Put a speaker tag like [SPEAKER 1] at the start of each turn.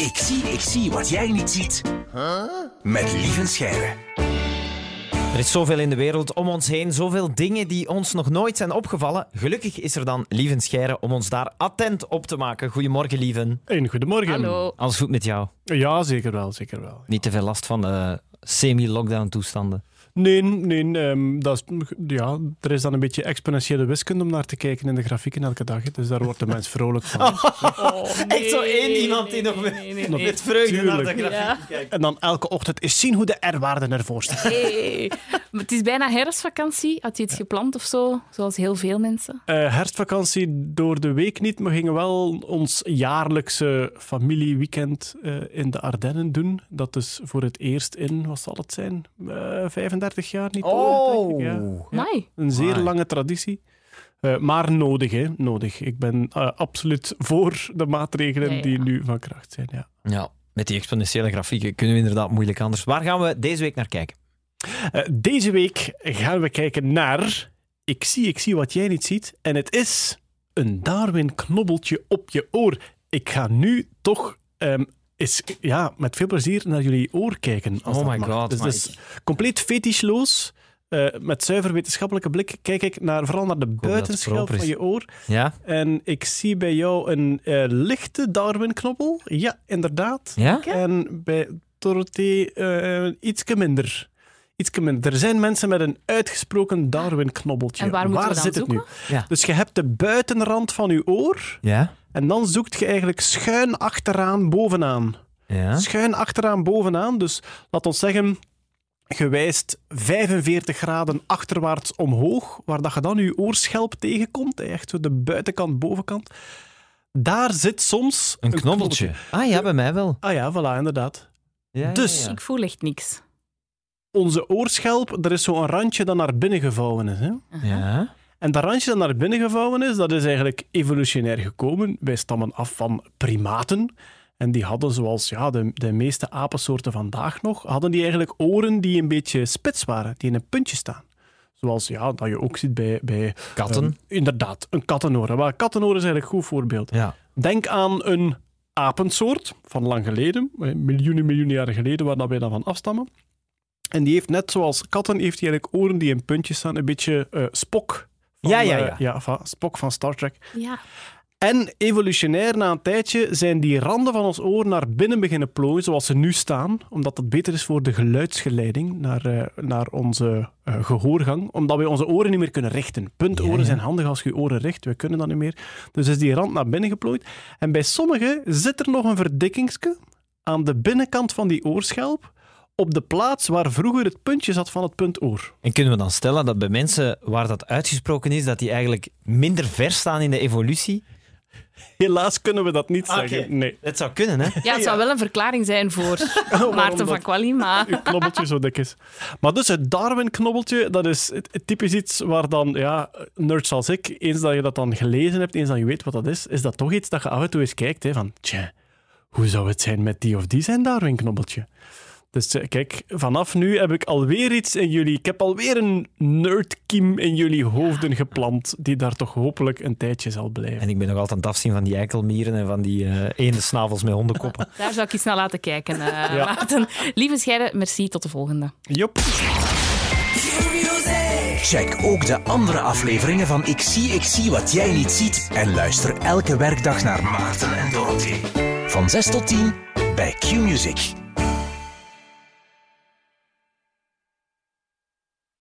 [SPEAKER 1] Ik zie, ik zie wat jij niet ziet. Met Lieven Scheire.
[SPEAKER 2] Er is zoveel in de wereld om ons heen, zoveel dingen die ons nog nooit zijn opgevallen. Gelukkig is er dan Lieven Scheire om ons daar attent op te maken. Goedemorgen, Lieven.
[SPEAKER 3] Een goedemorgen.
[SPEAKER 4] Hallo.
[SPEAKER 2] Alles goed met jou?
[SPEAKER 3] Ja, zeker wel, zeker wel.
[SPEAKER 2] Niet te veel last van de semi-lockdown toestanden.
[SPEAKER 3] Nee, nee, ehm, dat is, ja, er is dan een beetje exponentiële wiskunde om naar te kijken in de grafieken elke dag. hè. Dus daar wordt de mens vrolijk van.
[SPEAKER 2] Mm. Echt zo één iemand die nog met-
[SPEAKER 4] Oh, Nee, nee,
[SPEAKER 3] Nog
[SPEAKER 4] nee.
[SPEAKER 2] Met vreugde naar
[SPEAKER 3] Tuurlijk.
[SPEAKER 2] de grafiek
[SPEAKER 4] Ja.
[SPEAKER 2] kijkt.
[SPEAKER 3] En dan elke ochtend is zien hoe de R-waarden ervoor staan.
[SPEAKER 4] Hey. Maar het is bijna herfstvakantie. Had je iets gepland of zo? Zoals heel veel mensen.
[SPEAKER 3] Eh, herfstvakantie door de week niet, maar we gingen wel ons jaarlijkse familieweekend eh, in de Ardennen doen. Dat is voor het eerst in, wat zal het zijn? Eh, 35 jaar, niet ooit, denk ik, ja.
[SPEAKER 2] Oh.
[SPEAKER 3] Ja.
[SPEAKER 4] Mai.
[SPEAKER 3] Een zeer
[SPEAKER 2] Amai.
[SPEAKER 3] lange traditie. Eh, maar nodig, hè? Nodig. Ik ben eh, absoluut voor de maatregelen
[SPEAKER 4] Ja, ja.
[SPEAKER 3] die nu van kracht zijn. Ja.
[SPEAKER 2] Ja, met die exponentiële grafieken kunnen we inderdaad moeilijk anders. Waar gaan we deze week naar kijken?
[SPEAKER 3] Eh, deze week gaan we kijken naar Ik zie, ik zie wat jij niet ziet. En het is een Darwin-knobbeltje op je oor. Ik ga nu toch ehm, eens, ja, met veel plezier naar jullie oor kijken. als
[SPEAKER 2] Oh
[SPEAKER 3] dat
[SPEAKER 2] my
[SPEAKER 3] mag.
[SPEAKER 2] god,
[SPEAKER 3] Dus
[SPEAKER 2] maar
[SPEAKER 3] het is compleet fetischloos. eh, met zuiver wetenschappelijke blik kijk ik naar, vooral naar de buitenschel
[SPEAKER 2] proper is.
[SPEAKER 3] van je oor.
[SPEAKER 2] Ja?
[SPEAKER 3] En ik zie bij jou een eh, lichte Darwin-knobbel. Ja, inderdaad.
[SPEAKER 2] Ja?
[SPEAKER 3] En bij Dorothee eh ietske minder. Ietske minder. Er zijn mensen met een uitgesproken Darwin-knobbeltje.
[SPEAKER 4] En waar moeten we dan
[SPEAKER 3] zit het
[SPEAKER 4] zoeken?
[SPEAKER 3] nu?
[SPEAKER 2] Ja.
[SPEAKER 3] Dus je hebt de buitenrand van je oor.
[SPEAKER 2] Ja?
[SPEAKER 3] En dan zoekt je eigenlijk schuin achteraan bovenaan.
[SPEAKER 2] Ja?
[SPEAKER 3] Schuin achteraan bovenaan. Dus laat ons zeggen, je wijst 45 graden achterwaarts omhoog, waar dat je dan je oorschelp tegenkomt, hè, echt zo de buitenkant, bovenkant. Daar zit soms
[SPEAKER 2] Een knobbeltje. Ah ja, bij mij wel.
[SPEAKER 3] Ah ja, voilà, inderdaad.
[SPEAKER 2] Ja, ja,
[SPEAKER 3] Dus-
[SPEAKER 2] ja.
[SPEAKER 4] Ik voel echt niks.
[SPEAKER 3] Onze oorschelp, er is zo'n randje dat naar binnen gevouwen is. Hè?
[SPEAKER 2] Ja.
[SPEAKER 3] En dat randje dat naar binnen gevouwen is, dat is eigenlijk evolutionair gekomen. Wij stammen af van primaten. En die hadden, zoals ja, de, de meeste apensoorten vandaag nog, hadden die eigenlijk oren die een beetje spits waren, die in een puntje staan. Zoals ja, dat je ook ziet bij... bij
[SPEAKER 2] Katten.
[SPEAKER 3] eh, inderdaad, een kattenoren. Maar kattenoren is eigenlijk een goed voorbeeld.
[SPEAKER 2] Ja.
[SPEAKER 3] Denk aan een apensoort van lang geleden, eh, miljoenen, miljoenen jaren geleden, waar dat wij dan van afstammen. En die heeft net zoals katten, heeft die eigenlijk oren die in puntjes staan, een beetje eh, spok. Van,
[SPEAKER 2] Ja, ja,
[SPEAKER 3] eh,
[SPEAKER 2] ja.
[SPEAKER 3] ja, van, spok van Star Trek.
[SPEAKER 4] Ja.
[SPEAKER 3] En evolutionair na een tijdje zijn die randen van ons oor naar binnen beginnen plooien, zoals ze nu staan, omdat dat beter is voor de geluidsgeleiding naar, eh, naar onze eh, gehoorgang, omdat wij onze oren niet meer kunnen richten. Puntoren
[SPEAKER 2] Ja, ja.
[SPEAKER 3] zijn handig als je je oren richt, we kunnen dat niet meer. Dus is die rand naar binnen geplooid. En bij sommigen zit er nog een verdikkingske aan de binnenkant van die oorschelp, op de plaats waar vroeger het puntje zat van het puntoor.
[SPEAKER 2] En kunnen we dan stellen dat bij mensen waar dat uitgesproken is, dat die eigenlijk minder ver staan in de evolutie?
[SPEAKER 3] Helaas kunnen we dat niet
[SPEAKER 2] Oké.
[SPEAKER 3] zeggen. Nee.
[SPEAKER 2] Dat zou kunnen, hè?
[SPEAKER 4] ja, het zou wel een verklaring zijn voor
[SPEAKER 2] Oh,
[SPEAKER 3] Waarom
[SPEAKER 4] Maarten
[SPEAKER 3] dat-
[SPEAKER 4] van Quali, maar...
[SPEAKER 3] uw knobbeltje zo dik is. Maar dus het Darwin-knobbeltje, dat is het- het typisch iets waar dan, ja, nerds als ik, eens dat je dat dan gelezen hebt, eens dat je weet wat dat is, is dat toch iets dat je af en toe eens kijkt, hè, van, tja, hoe zou het zijn met die of die zijn Darwin-knobbeltje? Dus eh, kijk, vanaf nu heb ik alweer iets in jullie, ik heb alweer een nerdkiem in jullie hoofden geplant, die daar toch hopelijk een tijdje zal blijven.
[SPEAKER 2] En ik ben nog altijd aan het afzien van die eikelmieren en van die eh eendensnavels met hondenkoppen.
[SPEAKER 4] Daar zou ik iets naar laten kijken, eh, Maarten. Lieve Scheire, merci, tot de volgende.
[SPEAKER 3] Jop.
[SPEAKER 1] Check ook de andere afleveringen van Ik zie, ik zie wat jij niet ziet. En luister elke werkdag naar Maarten en Dorothee. Van 6 tot 10 bij Q-Music.